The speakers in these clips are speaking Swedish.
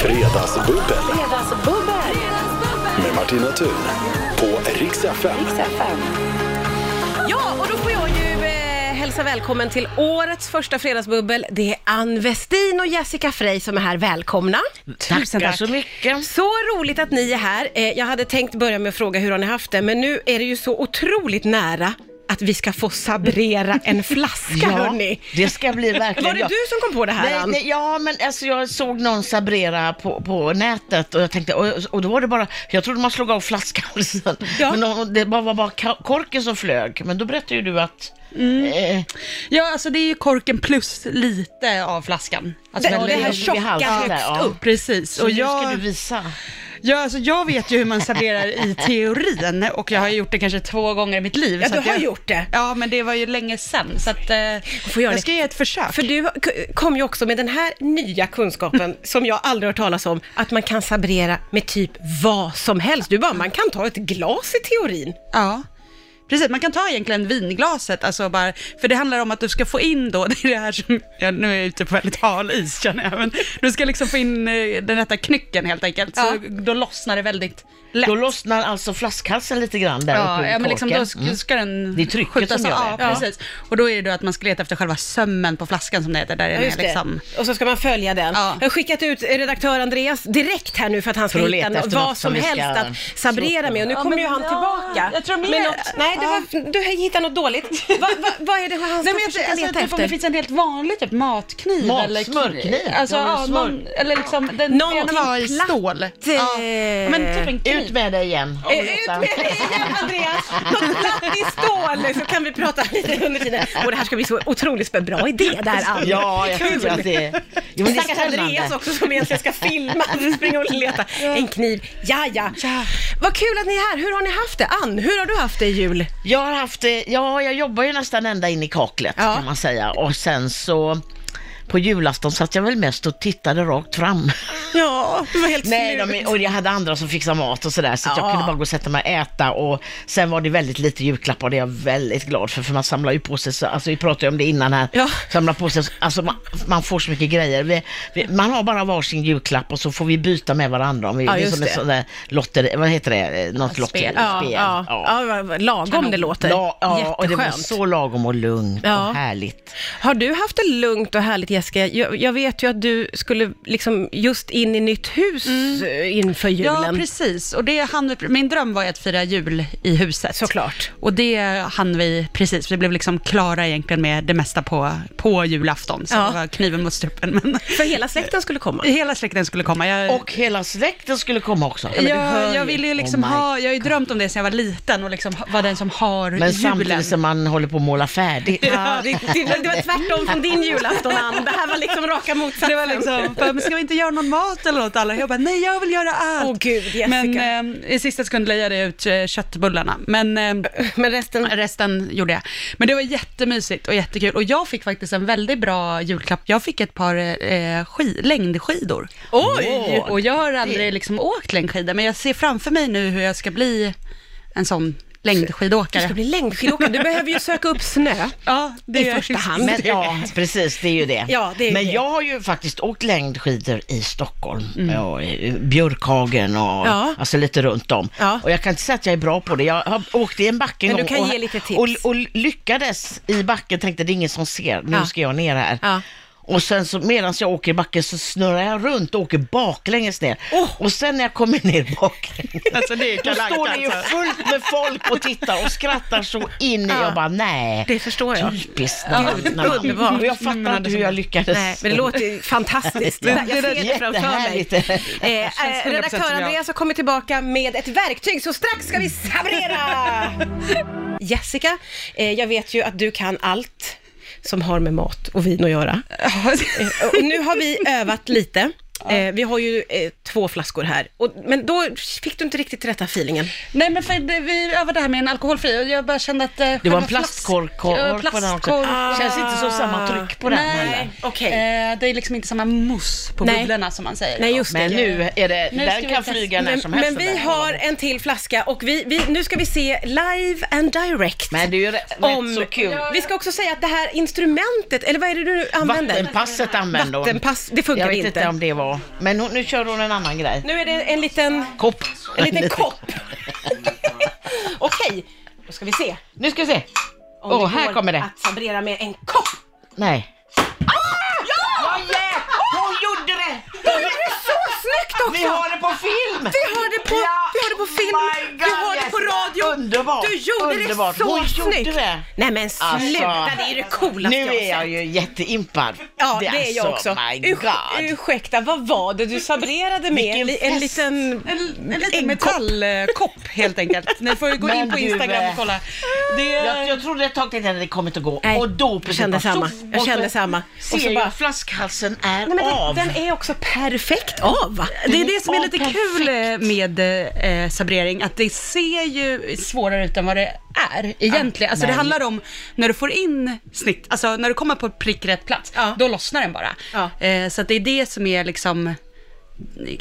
Fredagsbubbel Fredagsbubbel! med Martina Thun på Rix FM. Ja, och då får jag ju eh, hälsa välkommen till årets första fredagsbubbel. Det är Ann Westin och Jessica Frey som är här. Välkomna! Tusen tack. Mm, så mycket. Så roligt att ni är här. Eh, Jag hade tänkt börja med att fråga hur har ni haft det, men nu är det ju så otroligt nära att vi ska få sabrera en flaska, hörni. det ska bli verkligen Var det jag. du som kom på det här, Nej, Ann? nej, ja, men alltså jag såg någon sabrera på, på nätet och jag tänkte, och, och då var det bara, jag trodde man slog av flaskhalsen, Ja. men de, det bara- var bara ka- korken som flög. Men då berättade ju du att, Mm. eh, Ja, alltså det är ju korken plus lite av flaskan. Alltså, Det, men- det här vid tjocka halsen där, högst ja. upp. Precis, så och nu ska jag, du visa. jag, alltså jag vet ju hur man serverar i teorin och jag har ju gjort det kanske två gånger i mitt liv. Ja, så du att har jag, gjort det. Ja, men det var ju länge sedan, så att, eh, får göra jag det. ska ge ett försök. För du kom ju också med den här nya kunskapen som jag aldrig hört talas om, att man kan sabrera med typ vad som helst. Du bara, man kan ta ett glas i teorin. Ja. Precis, man kan ta egentligen vinglaset, alltså bara, för det handlar om att du ska få in då, det är det här som, ja, nu är jag ute på väldigt hal is känner jag, men du ska liksom få in eh, den rätta knycken helt enkelt, så då lossnar det väldigt lätt. Då lossnar alltså flaskhalsen lite grann där uppe Ja, vid ja men liksom korken. då ska, ska den Det är trycket skjutas Mm. som gör av. det. Ja, Ja. precis. Och då är det då att man ska leta efter själva sömmen på flaskan som det heter, där den är liksom... Och så ska man följa den. Ja. Jag har skickat ut redaktör Andreas direkt här nu för att han ska För att hitta leta något, efter vad något som som vi ska helst att sabrera slå med. Och nu Ja, kommer men ju han ja, tillbaka. jag tror med mer- något, nej, det var, du hittar något dåligt. Va, va, vad är det han ska Nej, men jag, försöka alltså, leta typ om det efter? finns en helt vanlig typ matkniv Mat- eller kniv. smörkniv. Alltså, Ja, ja, men smör- någon, eller liksom, den Någonting den var i platt. stål. Ja, men typ en Mm. Ut kniv. med dig igen. Eh, Ut med dig igen Andreas! Något platt i stål så kan vi prata lite under tiden. Och det här ska bli så otroligt spännande. Bra idé där Ann! Ja, jag Kul. tycker att det är... Jo, men det är Stackars Andreas spännande. också som egentligen ska filma, springa och leta. En kniv, ja, ja Vad kul att ni är här, hur har ni haft det? Ann, hur har du haft det i jul? Jag har haft, eh, ja jag jobbar ju nästan ända in i kaklet Ja. kan man säga och sen så på julafton satt jag väl mest och tittade rakt fram. Ja, du var helt Nej, de, och jag hade andra som fixade mat och sådär så att Ja. jag kunde bara gå och sätta mig och äta och sen var det väldigt lite julklappar och det är jag väldigt glad för för man samlar ju på sig, så, alltså vi pratade ju om det innan här, Ja. samlar på sig, alltså man, man får så mycket grejer. Vi, vi, man har bara varsin julklapp och så får vi byta med varandra. Om vi, Ja, det är just som ett det. sånt där lotteri, vad heter det, Eh, något lotteri, Ja, spel. ja, Ja. ja. vad- vad lagom det låter. Ja, ja och det var Jätteskönt. så lagom och lugnt Ja. och härligt. Har du haft det lugnt och härligt Jessica? Jag, jag vet ju att du skulle liksom just in i nytt hus eh, inför julen. Ja, precis. Och det hann vi, min dröm var ju att fira jul i huset. Såklart. Och det hann vi precis. Vi blev liksom klara egentligen med det mesta på, på julafton. Så Ja. det var kniven mot strupen. Men För hela släkten skulle komma. hela släkten skulle komma. Jag, Och hela släkten skulle komma också. jag, hör jag, ju. vill ju liksom Oh my- ha, jag har ju drömt om det sedan jag var liten och liksom ha- vara den som har Men julen. samtidigt som man håller på att måla färdigt. Ja, det, det, det var tvärtom från din julafton, Ann. Det här var liksom raka motsatsen. Det var liksom, bara, men ska vi inte göra någon mat eller något? Alla, jag bara, nej jag vill göra allt. Åh, gud, Jessica. Men eh, i sista sekund lejade jag ut eh, köttbullarna. Men eh, Men resten... resten gjorde jag. Men det var jättemysigt och jättekul. Och jag fick faktiskt en väldigt bra julklapp. Jag fick ett par eh, ski, längdskidor. Oj! Och jag har aldrig liksom åkt längdskidor, men jag ser framför mig nu hur jag ska bli en sån Du längdskidåkare. ska bli längdskidåkare. Du behöver ju söka upp snö. Ja, det I första hand. Men, ja, precis, det är ju det. Ja, det är ju Men det. jag har ju faktiskt åkt längdskidor i Stockholm, och i Björkhagen och Mm. Ja. alltså lite runt om. Ja. Och jag kan inte säga att jag är bra på det. Jag har åkt i en backe Men en du gång kan och, ge lite tips. Och, och lyckades i backen, tänkte det är ingen som ser, nu Ja. ska jag ner här. Ja. Och sen så medan jag åker i backen så snurrar jag runt och åker baklänges ner. Åh! Och sen när jag kommer ner baklänges Alltså, det är då Kalle Anka, står det ju alltså. fullt med folk och tittar och skrattar så in i, jag bara nej. Det förstår jag. Typiskt när man, när man, underbart. Mm, Och jag fattar inte hur jag lyckades. Nej, men det låter ju fantastiskt. Det- jag det ser där det är framför mig. jättehärligt. Eh, eh, känns 100% redaktör som jag. Andreas har kommit tillbaka med ett verktyg, så strax ska vi sabrera! Jessica, eh, jag vet ju att du kan allt som har med mat och vin att göra. Eh, och nu har vi övat lite. Eh, vi har ju eh, två flaskor här, och, men då fick du inte riktigt rätta feelingen. Nej men för det, vi övade det här med en alkoholfri och jag bara kände att... Det Eh, var en själva flask- plastkork kork Ja, på den också. plastkork. Känns inte som samma tryck på den Nej, heller. Okej. eh, det är liksom inte samma mos på Nej. bubblorna som man säger. Nej, just det. Men nu är det, Nu ska den vi kan testa. flyga när Men, som helst. men den vi där. har en till flaska och vi, vi, nu ska vi se live and direct. Men det är ju rätt om... så kul. Vi ska också säga att det här instrumentet, eller vad är det du använder? Vattenpasset använder hon. Vattenpass, det funkar Jag vet inte. inte om det var... bra. Men hon, nu kör hon en annan grej. Nu är det en liten, Kopp. en liten kopp. Okej, då ska vi se. Nu ska vi se. om Åh, går här kommer det. att sabrera med en kopp. Nej. Ah! Ja! ja! Hon gjorde det! Det är så snyggt också! Oh Vi har det på film! Vi har det på, Ja, vi har det på my film, God, vi har det på Jessica. radio. Underbart! Du gjorde underbart. det så Hon gjorde snyggt! det. Nej men sluta, Alltså, det är ju det coolaste Nu jag har är jag sett. ju jätteimpad. Ja, det, är jag också. så, my Urs- god. ursäkta, vad var det du sabrerade med? Vilken En li- en fest. liten... En, en liten Äggkopp. metallkopp eh, helt enkelt. Ni får ju gå Men in på du, Instagram eh, och kolla. Det, Jag, jag trodde ett tag att det hade kommit att gå Nej, och då jag precis kände bara, samma. så- Jag och så kände samma. Ser Och så ju bara- att flaskhalsen Nej, är men av. den, den är också perfekt av va? det är det som är lite Åh, kul eh, med eh, sabrering, att det ser ju svårare ut än vad det är egentligen. alltså det men- handlar om när du får in snitt, alltså när du kommer på prickrätt plats, Ja. då lossnar den bara. Ja. Eh, så att det är det som är liksom eh,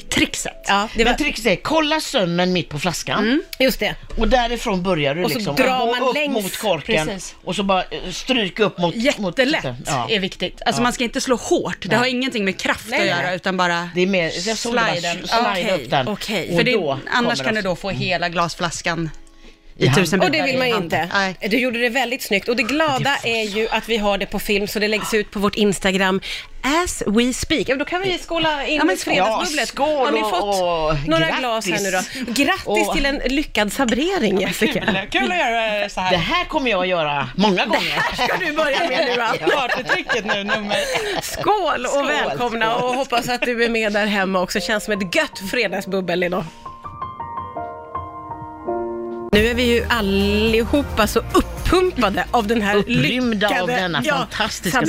trixet. Ja, det var, Men tricket är, kolla sömmen mitt på flaskan just det. och därifrån börjar du Mm. Och så liksom. drar gå man upp längs. mot korken Precis. och så bara eh, stryk upp mot... mot Jättelätt ja. är viktigt. Alltså man ska inte slå hårt, det har ingenting med kraft Nej, att nej. göra utan bara Det är mer, jag såg det bara, slide Okej, upp den. okej. Och För det, då annars kommer kan du då få hela glasflaskan i tusen Och det vill man ju i hand. inte. Nej. Du gjorde det väldigt snyggt och det glada är ju att vi har det på film så det läggs ut på vårt Instagram as we speak. Ja, Då kan vi skåla in Ja, men skål. fredagsbubblet. Ja, skål har ni och- fått och några grattis. glas här nu då? Grattis Och- till en lyckad sabrering Jessica. Kul att göra så Det här kommer jag att göra många gånger. Ska du börja med nu va? Mm. Partytricket nu, nummer Skål och Skål, välkomna skål. och hoppas att du är med där hemma också. Känns som ett gött fredagsbubbel idag. Nu är vi ju allihopa så uppumpade av den här Upprymda av lyckade denna fantastiska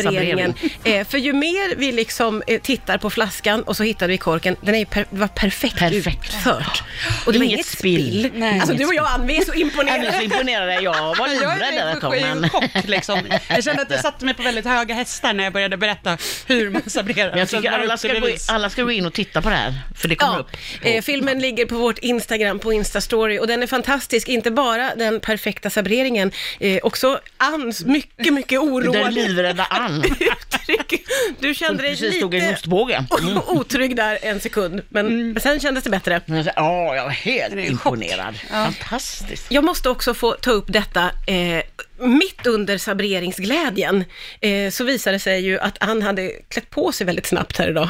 Eh, för ju mer vi liksom eh, tittar på flaskan och så hittar vi korken, den är ju per, det var perfekt, Perfekt. utfört. Och det var Inget inget spill. spill. Nej. Alltså du och jag, Ann, vi är så Jag blir så imponerade. imponerad, jag var Jag livrädd där ett tag. är i Men... chock liksom. Jag kände att jag satte mig på väldigt höga hästar när jag började berätta hur man sabrerar. Men jag Så tycker var det alla upp till ska, gå, bevis. alla ska gå in och titta på det här, för det kommer Ja, upp. eh, filmen ligger på vårt Instagram, på Instastory och den är fantastisk. Inte bara den perfekta sabreringen, eh, också Anns mycket, mycket Den oroande livrädda Ann, uttryck. Du kände dig precis tog en lite ostbåge. Mm. otrygg där en sekund, men sen kändes det bättre. Men jag sa, Ja, jag var helt Det är en imponerad. Fantastiskt. Jag måste också få ta upp detta. Eh, mitt under sabreringsglädjen eh, så visade det sig ju att Ann hade klätt på sig väldigt snabbt här idag.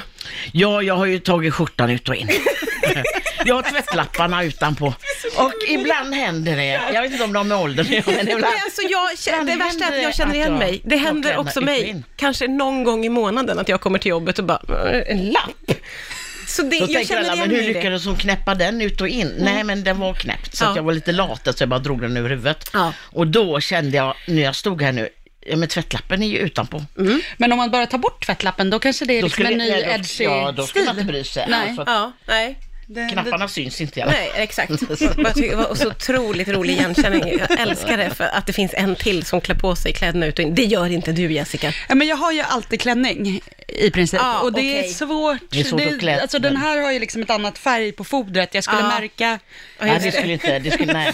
Ja, jag har ju tagit skjortan ut och in. Jag har tvättlapparna utanpå. Och ibland händer det, jag vet inte om de är åldern, men Nej, ibland. alltså jag, kä- ibland det värsta är händer att jag det känner att igen jag mig. Det plockar händer en också ut och mig, in. kanske någon gång i månaden, att jag kommer till jobbet och bara, "Eh, en lapp. Så det, Då jag tänker känner alla, igen men hur mig i det. Mm. lyckades hon knäppa den ut och in? Nej, men den var knäppt, så Ja. att jag var lite lat, så jag bara drog den över huvudet. Ja. Och då kände jag, när jag stod här nu, ja men tvättlappen är ju utanpå. Mm. Men om man bara tar bort tvättlappen, då kanske det är Då liksom skulle, en ny nej, då, edgy ja, då skulle stil. man inte bry sig. Nej. Alltså, Ja, nej. Det- knapparna syns inte i alla fall. Nej, exakt. Jag tycker Det var så otroligt rolig igenkänning. Jag älskar det, för att det finns en till som klär på sig kläderna ut och in. Det gör inte du, Jessica. Ja, men jag har ju alltid klänning i princip. Ja, och det är okej. svårt. Det är svårt att klä alltså, den den. här har ju liksom ett annat färg på fodret. Jag skulle Ja. märka. Nej, det skulle inte, det skulle, nej.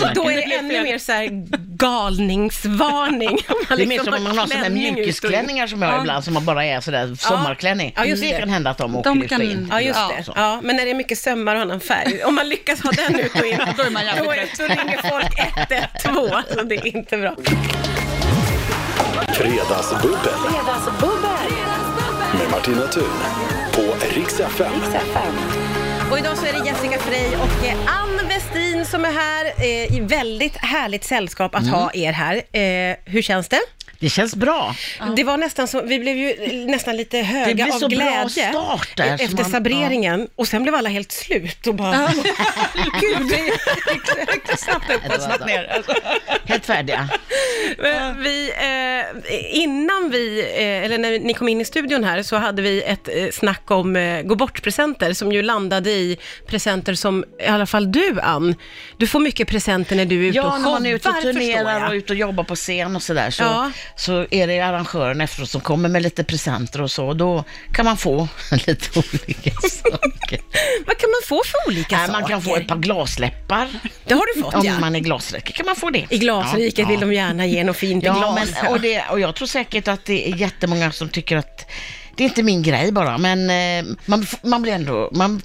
Och då är det ännu mer så här galningsvarning. Det är mer liksom som om man har sådana här mjukisklänningar som jag har ibland, som man bara är sådär sommarklänning. Ja, just det. det. kan hända att de åker De ut kan- och in. Ja, just Ja, det. så. Ja, men när det är mycket sömmar och annan färg, om man lyckas ha den ut och in, Då är man jävligt då, är, då ringer folk 112. Alltså, det är inte bra. Fredagsbubbel Fredagsbubbel! med Martina Thun på Rix FM. Och idag så är det Jessica Frey och eh, Ann Westin som är här. Eh, i väldigt härligt sällskap att Mm. ha er här. Eh, hur känns det? Det känns bra. Det var nästan som, vi blev ju nästan lite höga blir av så bra glädje start där, så efter man- sabreringen och sen blev alla helt slut och bara, gud, det gick snabbt upp. Det var- alltså. Helt färdiga. Men Vi, eh, innan vi, eh, eller när ni kom in i studion här, så hade vi ett eh, snack om eh, gå bort-presenter, som ju landade i presenter som, i alla fall du Ann, du får mycket presenter när du är ute och Ja, när showar, man är ute och förstår turnerar jag. och ute och jobbar på scen och sådär så, Ja. så är det arrangören efteråt som kommer med lite presenter och så. Och då kan man få lite olika saker. Vad kan man få för olika Nej, saker? man kan få ett par glasläppar. Det har du fått Om ja. man är glasrik kan man få det. I glasriket Ja, vill ja. de gärna ge något fint i Ja, glas. men, och, det, och jag tror säkert att det är jättemånga som tycker att det är inte min grej bara, men eh, man, f- man, blir ändå, man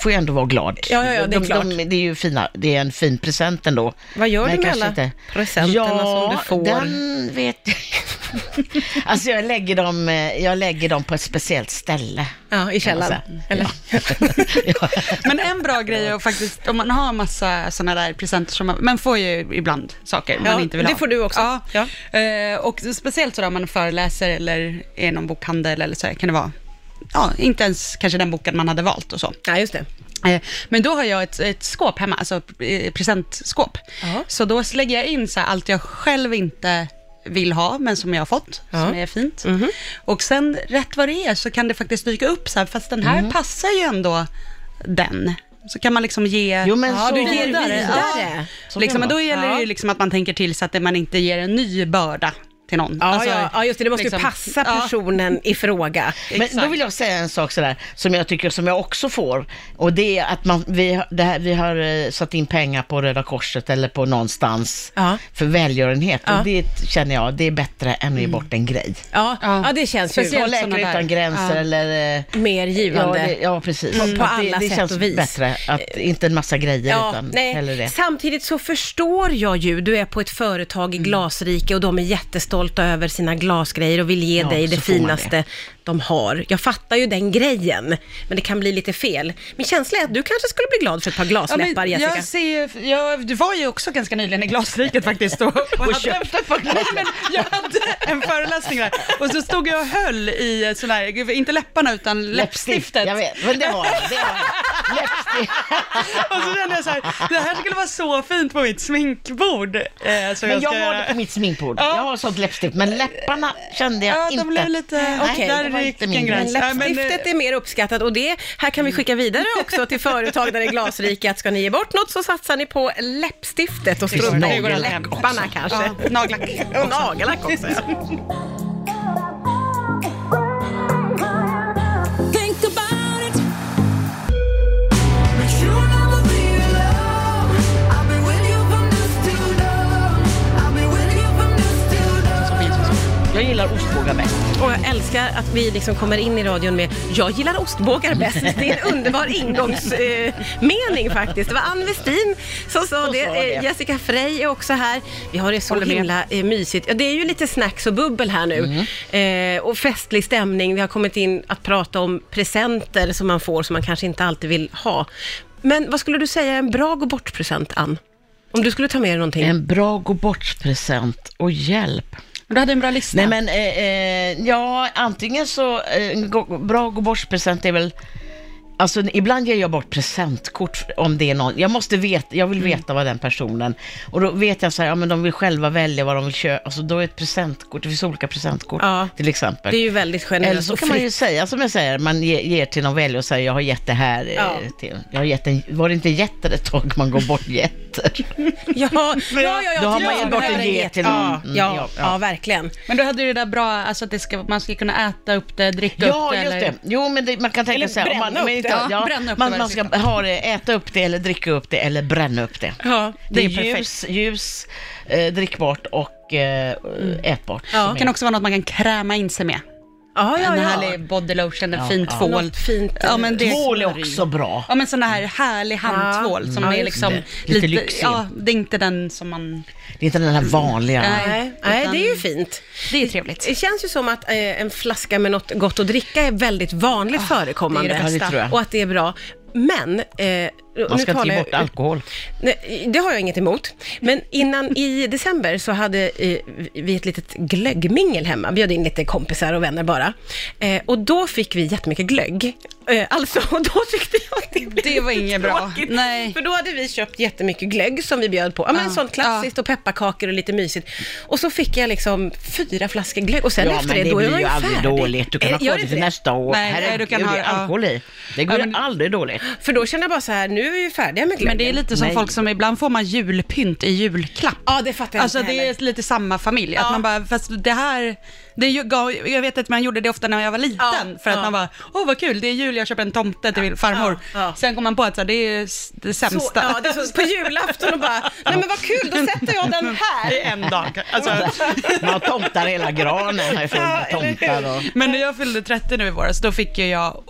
får ju ändå vara glad. Ja, ja, ja, det är de, klart. De, det är ju fina, det är en fin present ändå. Vad gör Men du med kanske alla presenterna ja, som du får? den vet jag Alltså jag lägger, dem, eh, jag lägger dem på ett speciellt ställe. Ja, i kan man källaren. säga. Eller? Ja. Men en bra grej är att faktiskt, om man har massa sådana där presenter som man, man får ju ibland saker Ja, man inte vill det ha. får du också. Ja. Ja. Eh, och speciellt så då om man föreläser eller är i någon bokhandel eller så här, kan det vara, ja, inte ens kanske den boken man hade valt och så. Ja, just det. Eh, Men då har jag ett, ett skåp hemma, alltså eh, presentskåp. Ja. Så då lägger jag in så här allt jag själv inte vill ha, men som jag har fått, som är fint. Mhm. Och sen rätt vad det är så kan det faktiskt dyka upp så här, fast den Mhm. här passar ju ändå den. Så kan man liksom ge Jo, men så- Du ger Ja. vidare. Så Liksom, kan men då man. gäller det ju Ja. liksom att man tänker till så att man inte ger en ny börda till någon. Ja, Alltså, ja, ja, just det. Det måste liksom- ju passa Ja. personen i fråga. Men Exakt. då vill jag säga en sak sådär, som jag tycker som jag också får. Och det är att man, vi, har- det här, vi har eh, satt in pengar på Röda Korset eller på någonstans Ja. för välgörenhet. Ja. Och det känner jag, det är bättre än att ge bort en grej. Ja, ja. Ja. det känns Ta Mm. Speciellt ju såna Läkare där. utan gränser Ja. eller... eh, mer givande. Ja, det, ja precis. På- på Att det, alla det sätt känns och vis. bättre att Eh. inte en massa grejer utan hellre det. Samtidigt så förstår jag ju, du är på ett företag Mm. i glasrike och de är jättestolta över sina glasgrejer och vill ge Ja, dig det så får man finaste de har. Jag fattar ju den grejen, men det kan bli lite fel. Min känsla är att du kanske skulle bli glad för ett par men glasläppar, Jessica. jag ser ju, jag, du var ju också ganska nyligen i Glasriket faktiskt. Och, och, hade- köpte ett par Nej, men Jag hade en föreläsning där och så stod jag och höll i sån här, gud, inte läpparna utan läppstiftet. Jag vet, men det har jag. Det har jag. Läppstift. Och så kände jag så här, det här skulle vara så fint på mitt sminkbord. Eh, så Men jag ska har göra. det på mitt sminkbord. Ja. Jag har sånt läppstift, men läpparna kände jag Ja, inte. de blev lite... Okej, där det var gick inte en min gräns. Men Nej, eh, läppstiftet är mer uppskattat och det här Mm. kan vi skicka vidare också till företag där i glasrike att ska ni ge bort något så satsar ni på läppstiftet och struntar i nagellack läpparna kanske. Ja, nagellack. Mm. Och nagellack också. ja. Think about it. But you'll never be alone. I'll be with you from this till dawn. I'll be with you from this till dawn. Jag gillar ostbågar bäst. Och jag älskar att vi liksom kommer in i radion med “Jag gillar ostbågar bäst”. Det är en underbar ingångsmening eh, mening faktiskt. Det var Ann Westin som sa Som det. sa det. Eh, Jessica Frey är också här. Vi har det så Håller med. himla eh, mysigt. Ja, det är ju lite snacks och bubbel här nu. Mm. Eh, och festlig stämning. Vi har kommit in att prata om presenter som man får som man kanske inte alltid vill ha. Men vad skulle du säga är en bra gå bort-present, Ann? Om du skulle ta med dig någonting? En bra gå bort-present och hjälp. Du hade en bra lista. Nej men, eh, eh, ja, antingen så, eh, en gå- bra gå bort-present är väl Alltså ibland ger jag bort presentkort om det är någon, jag måste veta, jag vill veta vad den personen, och då vet jag så här, ja men de vill själva välja vad de vill köpa, alltså då är ett presentkort, det finns olika presentkort Ja. till exempel. Det är ju väldigt generöst Eller så och kan man fritt. ju säga som jag säger, man ge, ger till någon väljare och säger jag har gett det här eh, Ja. till, jag har gett en, var det inte getter ett tag man går bort getter? Ja, ja, ja, ja, Då har man ja, gett bort en ja, get till någon. ja, Mm, ja, ja, ja, ja. verkligen. Men du hade ju det där bra, alltså att det ska, man ska kunna äta upp det, dricka upp Ja, det. just eller- det. Jo, men det, man kan Eller tänka sig... om man, bränna om man upp det. inte- Ja, bränna upp det man, var man det ska ha det, äta upp det eller dricka upp det eller bränna upp det. Ja, Det är Det är ljus, ljus eh, drickbart och eh, ätbart. Ja. som Det är- Mm. kan också vara något man kan kräma in sig med. ja, ja, en ja. härlig body lotion, en Ja, fin ja. tvål. Något fint. eh, Ja, men det, Tvål är också bra. Ja men sån här härlig handtvål som Ja, är just liksom det. Lite lite, lyxig. ja det är inte den som man, Det är inte den här vanliga. Nej. Nej, nej, Utan- det är ju fint. det är trevligt. Det känns ju som att eh, en flaska med något gott att dricka är väldigt vanligt förekommande. det är det bästa. Ja, det tror jag. Och att det är bra. Men... Eh, Man ska nu inte talar ge jag- bort alkohol. Nej, det har jag inget emot. Men innan i december så hade eh, vi ett litet glöggmingel hemma. Bjöd in lite kompisar och vänner bara. Eh, och då fick vi jättemycket glögg. Eh, alltså, och då tyckte jag att det blev Det var lite inget bra. tråkigt. Nej. För då hade vi köpt jättemycket glögg som vi bjöd på. Ja, men Ja. sånt klassiskt och pepparkakor och lite mysigt. Och så fick jag liksom fyra flaskor glögg och sen Ja, efter men det, det, då är blir man ju ju aldrig färdig. dåligt. Du kan Eh, ha gör kvar det inte till det? nästa år. Nej, nej, Herregud, du kan ha- det är alkohol i. Det går Ja, men- aldrig dåligt. För då kände jag bara så här, nu är vi ju färdiga med glöggen. Men det är lite som Nej. folk som ibland får man julpynt i julklapp. Ja, det fattar jag Alltså inte det heller. är lite samma familj, att Ja. man bara, fast det här, det ju- gav, jag vet att man gjorde det ofta när jag var liten, Ja, för att ja. man bara, åh vad kul, det är jul, jag köper en tomte till farmor. Ja, ja. Sen kom man på att så här, det är ju s- det sämsta. Så, ja, det är så, på julafton och bara, nej men vad kul, då sätter jag den Det här. är en dag. Alltså, Man har tomtar i hela granen. Här Ja, för eller tomtar och... men när jag fyllde 30 nu i våras, då fick ju jag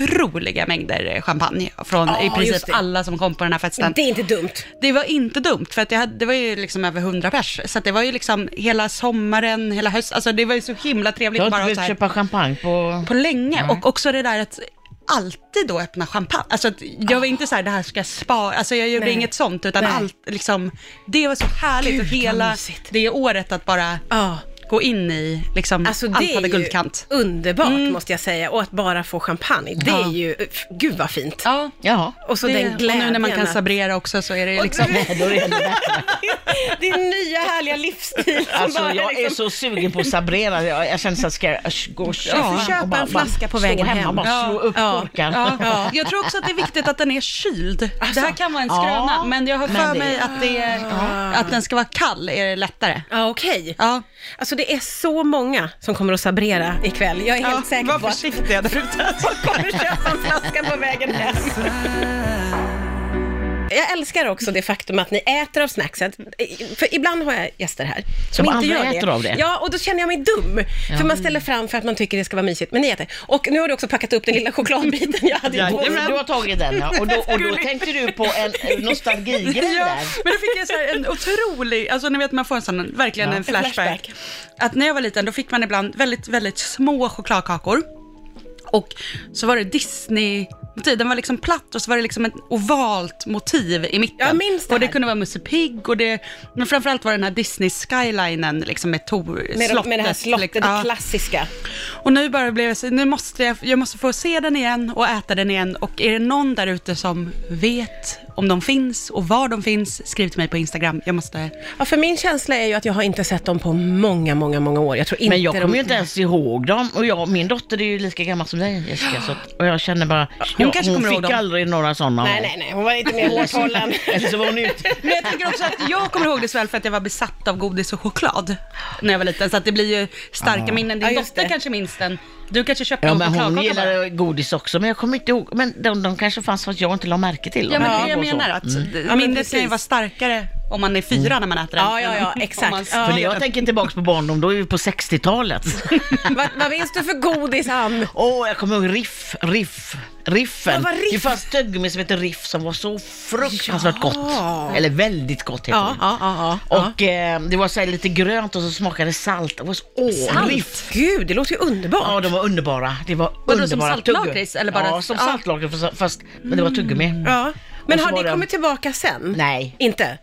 otroliga mängder champagne från Ja, i just princip det. alla som kom på den här festen. Det är inte dumt. Det var inte dumt, för att jag hade, det var ju liksom över 100 pers. Så att det var ju liksom hela sommaren, hela hösten. Alltså det var ju så himla Jag trevligt har bara inte Mm. att så behövt köpa här, champagne på... på länge. Och också det där att alltid då öppna champagne. Alltså att jag var inte så här, det här ska jag spara. Alltså jag gjorde Nej. inget sånt, utan Nej. allt liksom. Det var så härligt och Gud, vad hela mysigt. det året att bara Ja. gå in i, liksom, Alltså det allt är hade ju guldkant. underbart måste jag säga och att bara få champagne, det Ja. är ju, f- gud vad fint. Ja. Jaha. Och så det, den glädjen. och nu när man kan att- sabrera också så är det ju liksom... Nej, då är det ännu bättre. Din nya härliga livsstil som Alltså bara jag är liksom- så sugen på att sabrera. Jag, jag känner så att ska jag sh- gå och köpa, Jag får och köpa bara- en flaska bara på vägen stå hemma hem. och bara Ja. slå upp Ja. Alltså. korkar. Ja. Jag tror också att det är viktigt att den är kyld. det här kan vara en skröna, Ja, men jag har men för det- mig att, det är, att den ska vara kall är det lättare. Ja, okej. Ja. Alltså det är så många som kommer att sabrera ikväll. Jag är helt säker på att de försiktiga där ute. kommer köpa en flaska på vägen hem. Jag älskar också det faktum att ni äter av snackset. För ibland har jag gäster här som, Som inte andra gör det. äter av det. Ja, och då känner jag mig dum. För man ställer fram för att man tycker det ska vara mysigt. Men ni äter. Och nu har du också packat upp den lilla chokladbiten jag hade i Och tåget. Du har tagit den ja. och då, och då tänkte du på en eh, nostalgigrej Ja, där. men då fick jag så här en otrolig, alltså ni vet man får en sån, verkligen en flashback. flashback. Att när jag var liten då fick man ibland väldigt, väldigt små chokladkakor. Och så var det Disney, den var liksom platt och så var det liksom ett ovalt motiv i mitten. Jag minns det Och det här. kunde vara Musse Pigg och det, men framförallt var det den här Disney skylinen liksom med to, Med, slottet. de, med det här slottet, liksom. det Ja. klassiska. Och nu bara blev jag så, nu måste jag, jag måste få se den igen och äta den igen. Och är det någon där ute som vet om de finns och var de finns, skriv till mig på Instagram. Jag måste... Ja, för min känsla är ju att jag har inte sett dem på många, många, många år. Jag tror inte Men jag kommer de... ju inte ens ihåg dem och jag, min dotter är ju lika gammal som dig Jessica så att, och jag känner bara, ja, kanske hon kommer ihåg fick dem. aldrig några sådana. Nej, nej, nej, hon var inte med i Hårtollen. Eller så var hon ute. Men jag tänker också att jag kommer ihåg det så väl för att jag var besatt av godis och choklad när jag var liten. Så att det blir ju starka minnen. Din Ja, just dotter det. kanske minns den. Du kanske köpte Ja någon men hon chokladkaka bara. gillade godis också men jag kommer inte ihåg, men de, de kanske fanns för att jag inte la märke till dem. Ja, men Det det kan jag vara så. menar att Mm. men minnet kan ju precis. vara starkare om man är fyra när man äter den. Mm. Ja, ja, ja, Om exakt. man- Ja. För när jag tänker tillbaka på barndom, då är vi på 60-talet. vad, vad minns du för godis, Ann? Åh, jag kommer ihåg Riff, Riff, Riffen. Vad var Riff? Det fanns tuggummi som hette Riff som var så fruktansvärt gott. Eller väldigt gott heter det. ja, ja. Och eh, det var så här lite grönt och så smakade det salt. Det var så, åh, Riff! Gud, det låter ju underbart. Ja, de var underbara. Det var Vadå, som underbara tuggummi. saltlakrits, eller bara- Ja, som ja. saltlakrits fast, fast men det var tuggummi. Ja. Men Och så har var det det- kommit tillbaka sen? Nej. Inte?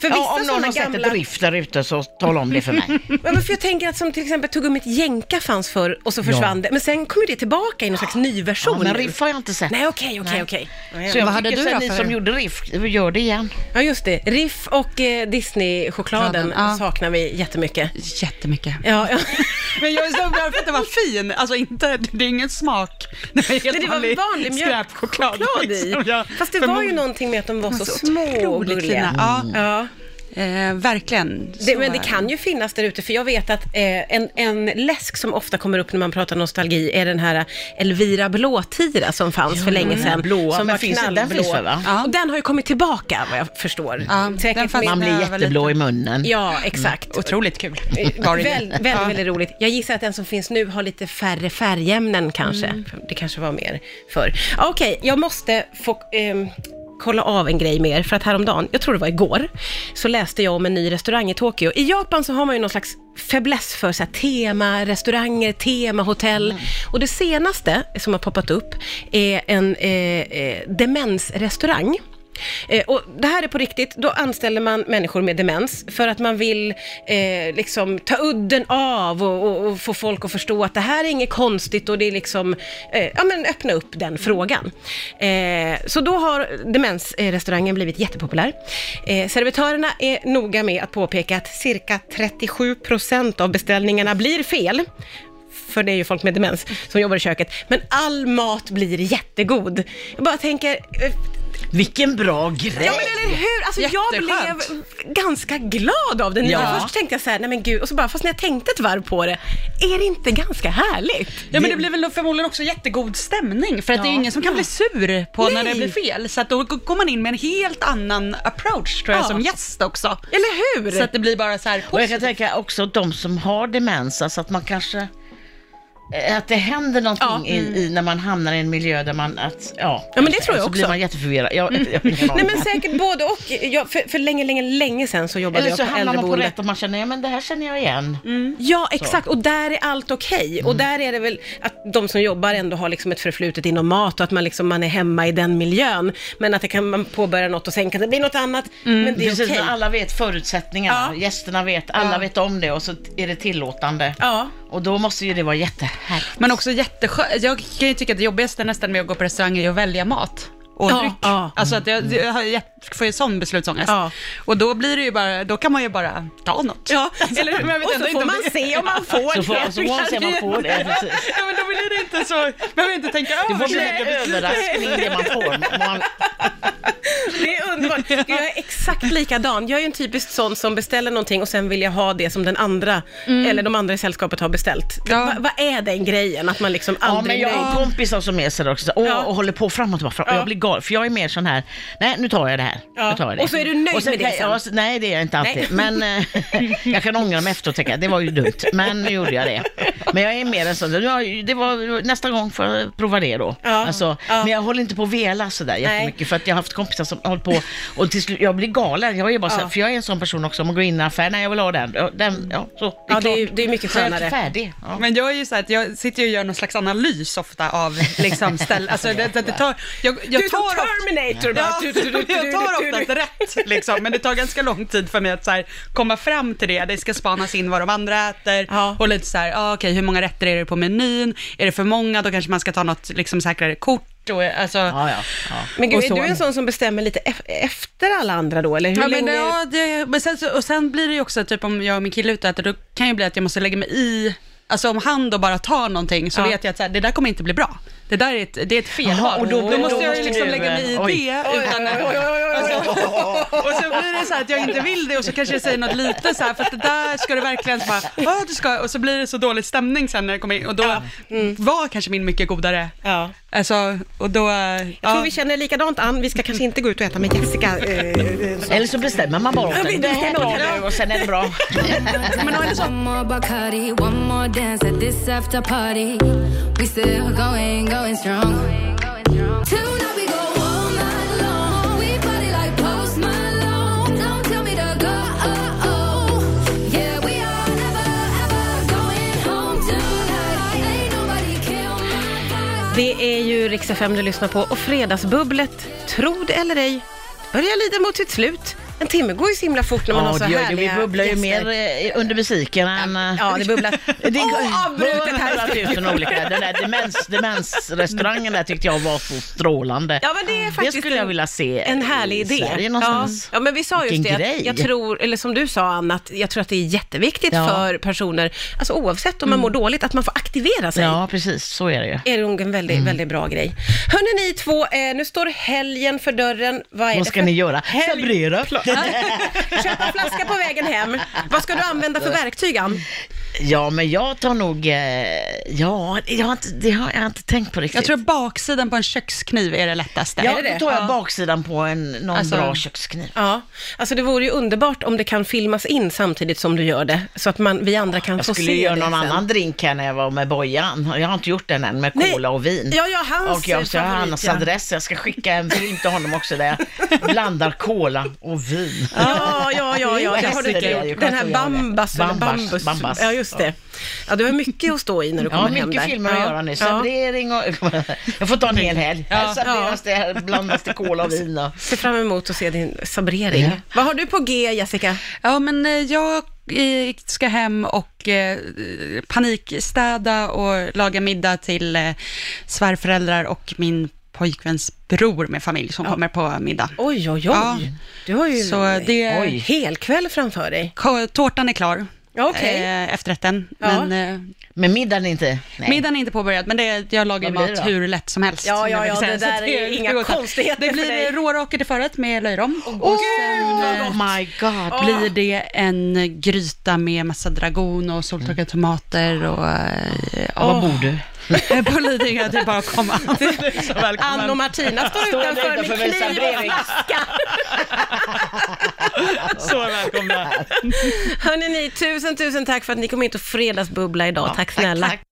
För vissa Ja, om någon sådana har sett gamla... ett Riff där ute så tala om det för mig. Ja, men för jag tänker att som till exempel tuggummit jänka fanns förr och så försvann det. Men sen kom ju det tillbaka i någon slags ny version. Ja, men nu. Riff har jag inte sett. Nej, okej, okej, okej. Så jag Vad tycker hade du så här, då ni för- som gjorde Riff, gör det igen. Ja, just det. Riff och eh, Disney-chokladen Ja. saknar vi jättemycket. Jättemycket. Ja, ja. Men jag är så glad för att den var fin. Alltså inte, det är ingen smak. Det var Nej, helt det var vanlig skräpchoklad. mjölkchoklad liksom. i. Ja. Fast det var ju någonting med att de var så, små och Otroligt gulliga. fina. Ja, Ja. eh, verkligen. Det, Så- men det kan ju finnas där ute, för jag vet att eh, en, en läsk som ofta kommer upp när man pratar nostalgi är den här Elvira Blåtira som fanns för länge sedan. blåa, som men finns- den finns väl, va? Ja. Och den har ju kommit tillbaka vad jag förstår. Ja, den fanns- Man blir Jag var jätteblå i munnen. Ja, exakt. Otroligt kul. Var det Eh, Väl, ju. väldigt, Ja. väldigt roligt. Jag gissar att den som finns nu har lite färre färgämnen kanske. Det kanske var mer förr. Ja, Okej, jag måste få ehm, kolla av en grej mer, för att häromdagen, jag tror det var igår, så läste jag om en ny restaurang i Tokyo. I Japan så har man ju någon slags fäbless för så här, tema-restauranger, tema-hotell. Och det senaste som har poppat upp är en eh, eh, demensrestaurang. Eh, och det här är på riktigt, då anställer man människor med demens för att man vill eh, liksom ta udden av och, och, och få folk att förstå att det här är inget konstigt och det är liksom, eh, ja men öppna upp den frågan. Eh, så då har demensrestaurangen blivit jättepopulär. Eh, servitörerna är noga med att påpeka att cirka 37 procent av beställningarna blir fel för det är ju folk med demens som jobbar i köket, men all mat blir jättegod. Jag bara tänker, eh, Vilken bra grej! Ja men eller hur, alltså jag blev Jätteskönt. ganska glad av den. Ja. Först tänkte jag så här, nej men gud, och så bara, fast när jag tänkte ett varv på det, är det inte ganska härligt? Ja men det blir väl förmodligen också jättegod stämning för att det är ju ingen som kan bli sur på när det Nej. blir fel. Så att då g- går man in med en helt annan approach tror jag Ja. som gäst också. Eller hur? Så att det blir bara så här, Och jag kan tänka också att de som har demens, alltså att man kanske eh, att det händer någonting i, i när man hamnar i en miljö där man att, ja, Mm. Ja, men det tror jag så blir också. Mm. man jätteförvirrad. Jag, jag har ingen Nej aning. men säkert både och. Jag, för, för länge, länge, länge sedan så jobbade Eller så jag på hamnar man på äldreboende. Mm, rätt och man känner, ja men det här känner jag igen. Ja, exakt. Och där är allt okej. Och där är det väl att de som jobbar ändå har liksom ett förflutet inom mat och att man, liksom, man är hemma i den miljön. Men att det kan, man påbörjar något och sen kan det bli något annat. Men det är okej. Precis, när alla vet förutsättningarna, gästerna vet, alla vet om det och så är det tillåtande. Ja. Och då måste ju det vara jättehärligt. men också jätteskönt. Jag kan ju tycka att det jobbigaste nästan med att gå på restaurang är att välja mat. Och Ja. dryck. Ja. Alltså att jag, jag har jätt- får ju sån beslutsångest. Ja. Och då blir det ju bara, då kan man ju bara ta något. Ja, Eller hur? Men jag vet och ändå så får inte om man det- se om man får Så får, det. så får man se om man får det. Precis. Ja, men då blir det inte så, man vill inte tänka Det över får bli en överraskning det man får. Man, Det är underbart. Gud, Jag är exakt likadan. Jag är ju en typisk sån som beställer någonting och sen vill jag ha det som den andra, eller de andra i sällskapet har beställt. Ja. Va- Vad är den grejen, att man liksom Ja, aldrig men jag är nöjd? har kompisar som är sådär också, och, Ja. och håller på framåt och bara fram. Ja. Jag blir galen, för jag är mer sån här, nej nu tar jag det här. Ja. Nu tar jag det. Och så är du nöjd Och sen med det kan- sen. ja, så- nej det är jag inte alltid, Nej. men eh, jag kan ångra mig efteråt och tänka, det var ju dumt, men nu gjorde jag det. Men jag är mer en sån, ja, det var, nästa gång får jag prova det då. Ja. Alltså, Ja. Men jag håller inte på att vela sådär jättemycket, för att jag har haft kompisar som har hållit på, och till slut, jag blir galen, jag är bara såhär, Ja. för jag är en sån person också, om man går in i en affär, nej jag vill ha den, Ja, den ja, så, det är, Ja, det är ju- klart. det är mycket Så jag skönare. färdig. Ja. Men jag är ju så här att jag sitter ju och gör någon slags analys ofta av liksom ställ, alltså det, det, det tar, jag, jag Du är som tar ofta- Terminator, bara. Ja, Du, du, du, du, jag du, tar du, ofta du. ett rätt liksom, men det tar ganska lång tid för mig att så här, komma fram till det. Det ska spanas in vad de andra äter Ja. och lite så här, ah, okej hur många rätter är det på menyn? Är det för många då kanske man ska ta något liksom, säkrare kort och alltså, Ja, ja, ja. Men och gud, är så. du en sån som bestämmer lite ef- efter alla andra då, eller hur Ja, men, länge? ja, det, men sen, så- och sen blir det ju också, typ om jag och min kille är ute och äter, då kan ju bli att jag måste lägga mig i, alltså om han då bara tar någonting så Ja. vet jag att så här, det där kommer inte bli bra. Det där är ett, det är ett felval. Jaha, och då blir- måste då jag ju måste liksom du- lägga mig i oj. det utan... Alltså, och så blir det så här att jag inte vill det och så kanske jag säger något lite så här, för att det där ska du verkligen så bara, "Ja, du ska, och så blir det så dålig stämning sen när jag kommer in och då var kanske min mycket godare. Ja. Alltså, och då... Jag tror vi känner likadant, Ann. Vi ska kanske inte gå ut och äta med Jessica. eh, Eller så bestämmer man bara åt Ja, den. vi Det här bestämmer åt tar den. du och sen är det bra. One more Bacardi, one more dance at this after party. We still going, going strong. Tonight we go all night long. We party like Post Malone. Don't tell me to go. Yeah, we are never ever going home tonight. Ain't nobody kill my vibe. Det är ju Rix FM du lyssnar på och Fredagsbubblet, tro det eller ej, börjar lida mot sitt slut. En timme går ju så himla fort när man har Ja, så det gör det. härliga Vi bubblar ju gäster. mer eh, under musiken än... eh, Ja, det bubblar. det är Oavbrutet här. 100 000 olika. Den där demens, demensrestaurangen där tyckte jag var så strålande. Ja, men det är faktiskt det skulle jag en- vilja se En härlig i idé. Sverige någonstans. Ja. ja, men vi sa just det. Vilken att grej. Jag tror, eller som du sa Anna, att jag tror att det är jätteviktigt Ja. Mm. för personer, alltså oavsett om man mår dåligt, att man får aktivera sig. Ja, Mm. precis. Så är det ju. är nog en väldigt, väldigt bra grej. Hörrni ni två, eh, nu står helgen för dörren. Vad, är det Vad ska för- ni göra? Helg- Sabrera. Köpa en flaska på vägen hem. Vad ska du använda för verktyg, Ann? Ja, men jag tar nog... eh, Ja, jag har inte, det har jag inte tänkt på riktigt. Jag tror baksidan på en kökskniv är det lättaste. ja, då tar jag baksidan på en, någon Alltså- bra kökskniv. Ja, alltså det vore ju underbart om det kan filmas in samtidigt som du gör det, så att man, vi andra kan Jag få skulle se göra det någon sen. annan drink här när jag var med Bojan. Jag har inte gjort den än med Nej. cola och vin. Ja, ja, hans och jag ska ha favorit, hans ja. adress. Jag ska skicka en film till honom också där jag blandar cola och vin. Ja, ja, ja, ja. Det har du inte Jessica är ju gjort. Den här skönt att göra det. bambas, eller Bambas, bambus. bambas. Ja, just det. Ja, du har mycket att stå i när du Jag har kommer hem där. mycket filmer att göra nu. Ja. Servering och... Jag får ta en hel helg. Här serveras det, här blandas det cola och vin. Och... Se fram emot att se din sabrering. Ja. Vad har du på G, Jessica? Ja, men eh, jag eh, ska hem och eh, panikstäda och laga middag till eh, svärföräldrar och min pojkväns bror med familj som kommer på middag. Oj, oj, oj. Ja. Du har ju Så det... en hel kväll framför dig. K- Tårtan är klar. Ja, okej. Eh, efterrätten. Ja. Men eh, Men middagen är inte... Nej. Middagen är inte påbörjad, men det, jag lagar ju Vad blir det mat då? hur lätt som helst. Ja, ja, vill ja, säga, det så där är inga går åt. konstigheter Det för blir dig. råraker till förrätt med löjrom. Åh, Och sen vad eh, gott. my god. blir det en gryta med massa dragon och soltorkade tomater och... eh, Ja, Var bor du? Eh, På Lidingö, det är bara att komma. Du är så välkommen. Ann och Martina står utanför med utanför kniv med och servering. flaska. så välkomna. Hörrni, ni, tusen, tusen tack för att ni kom hit och fredagsbubbla idag. tack snälla. Tack,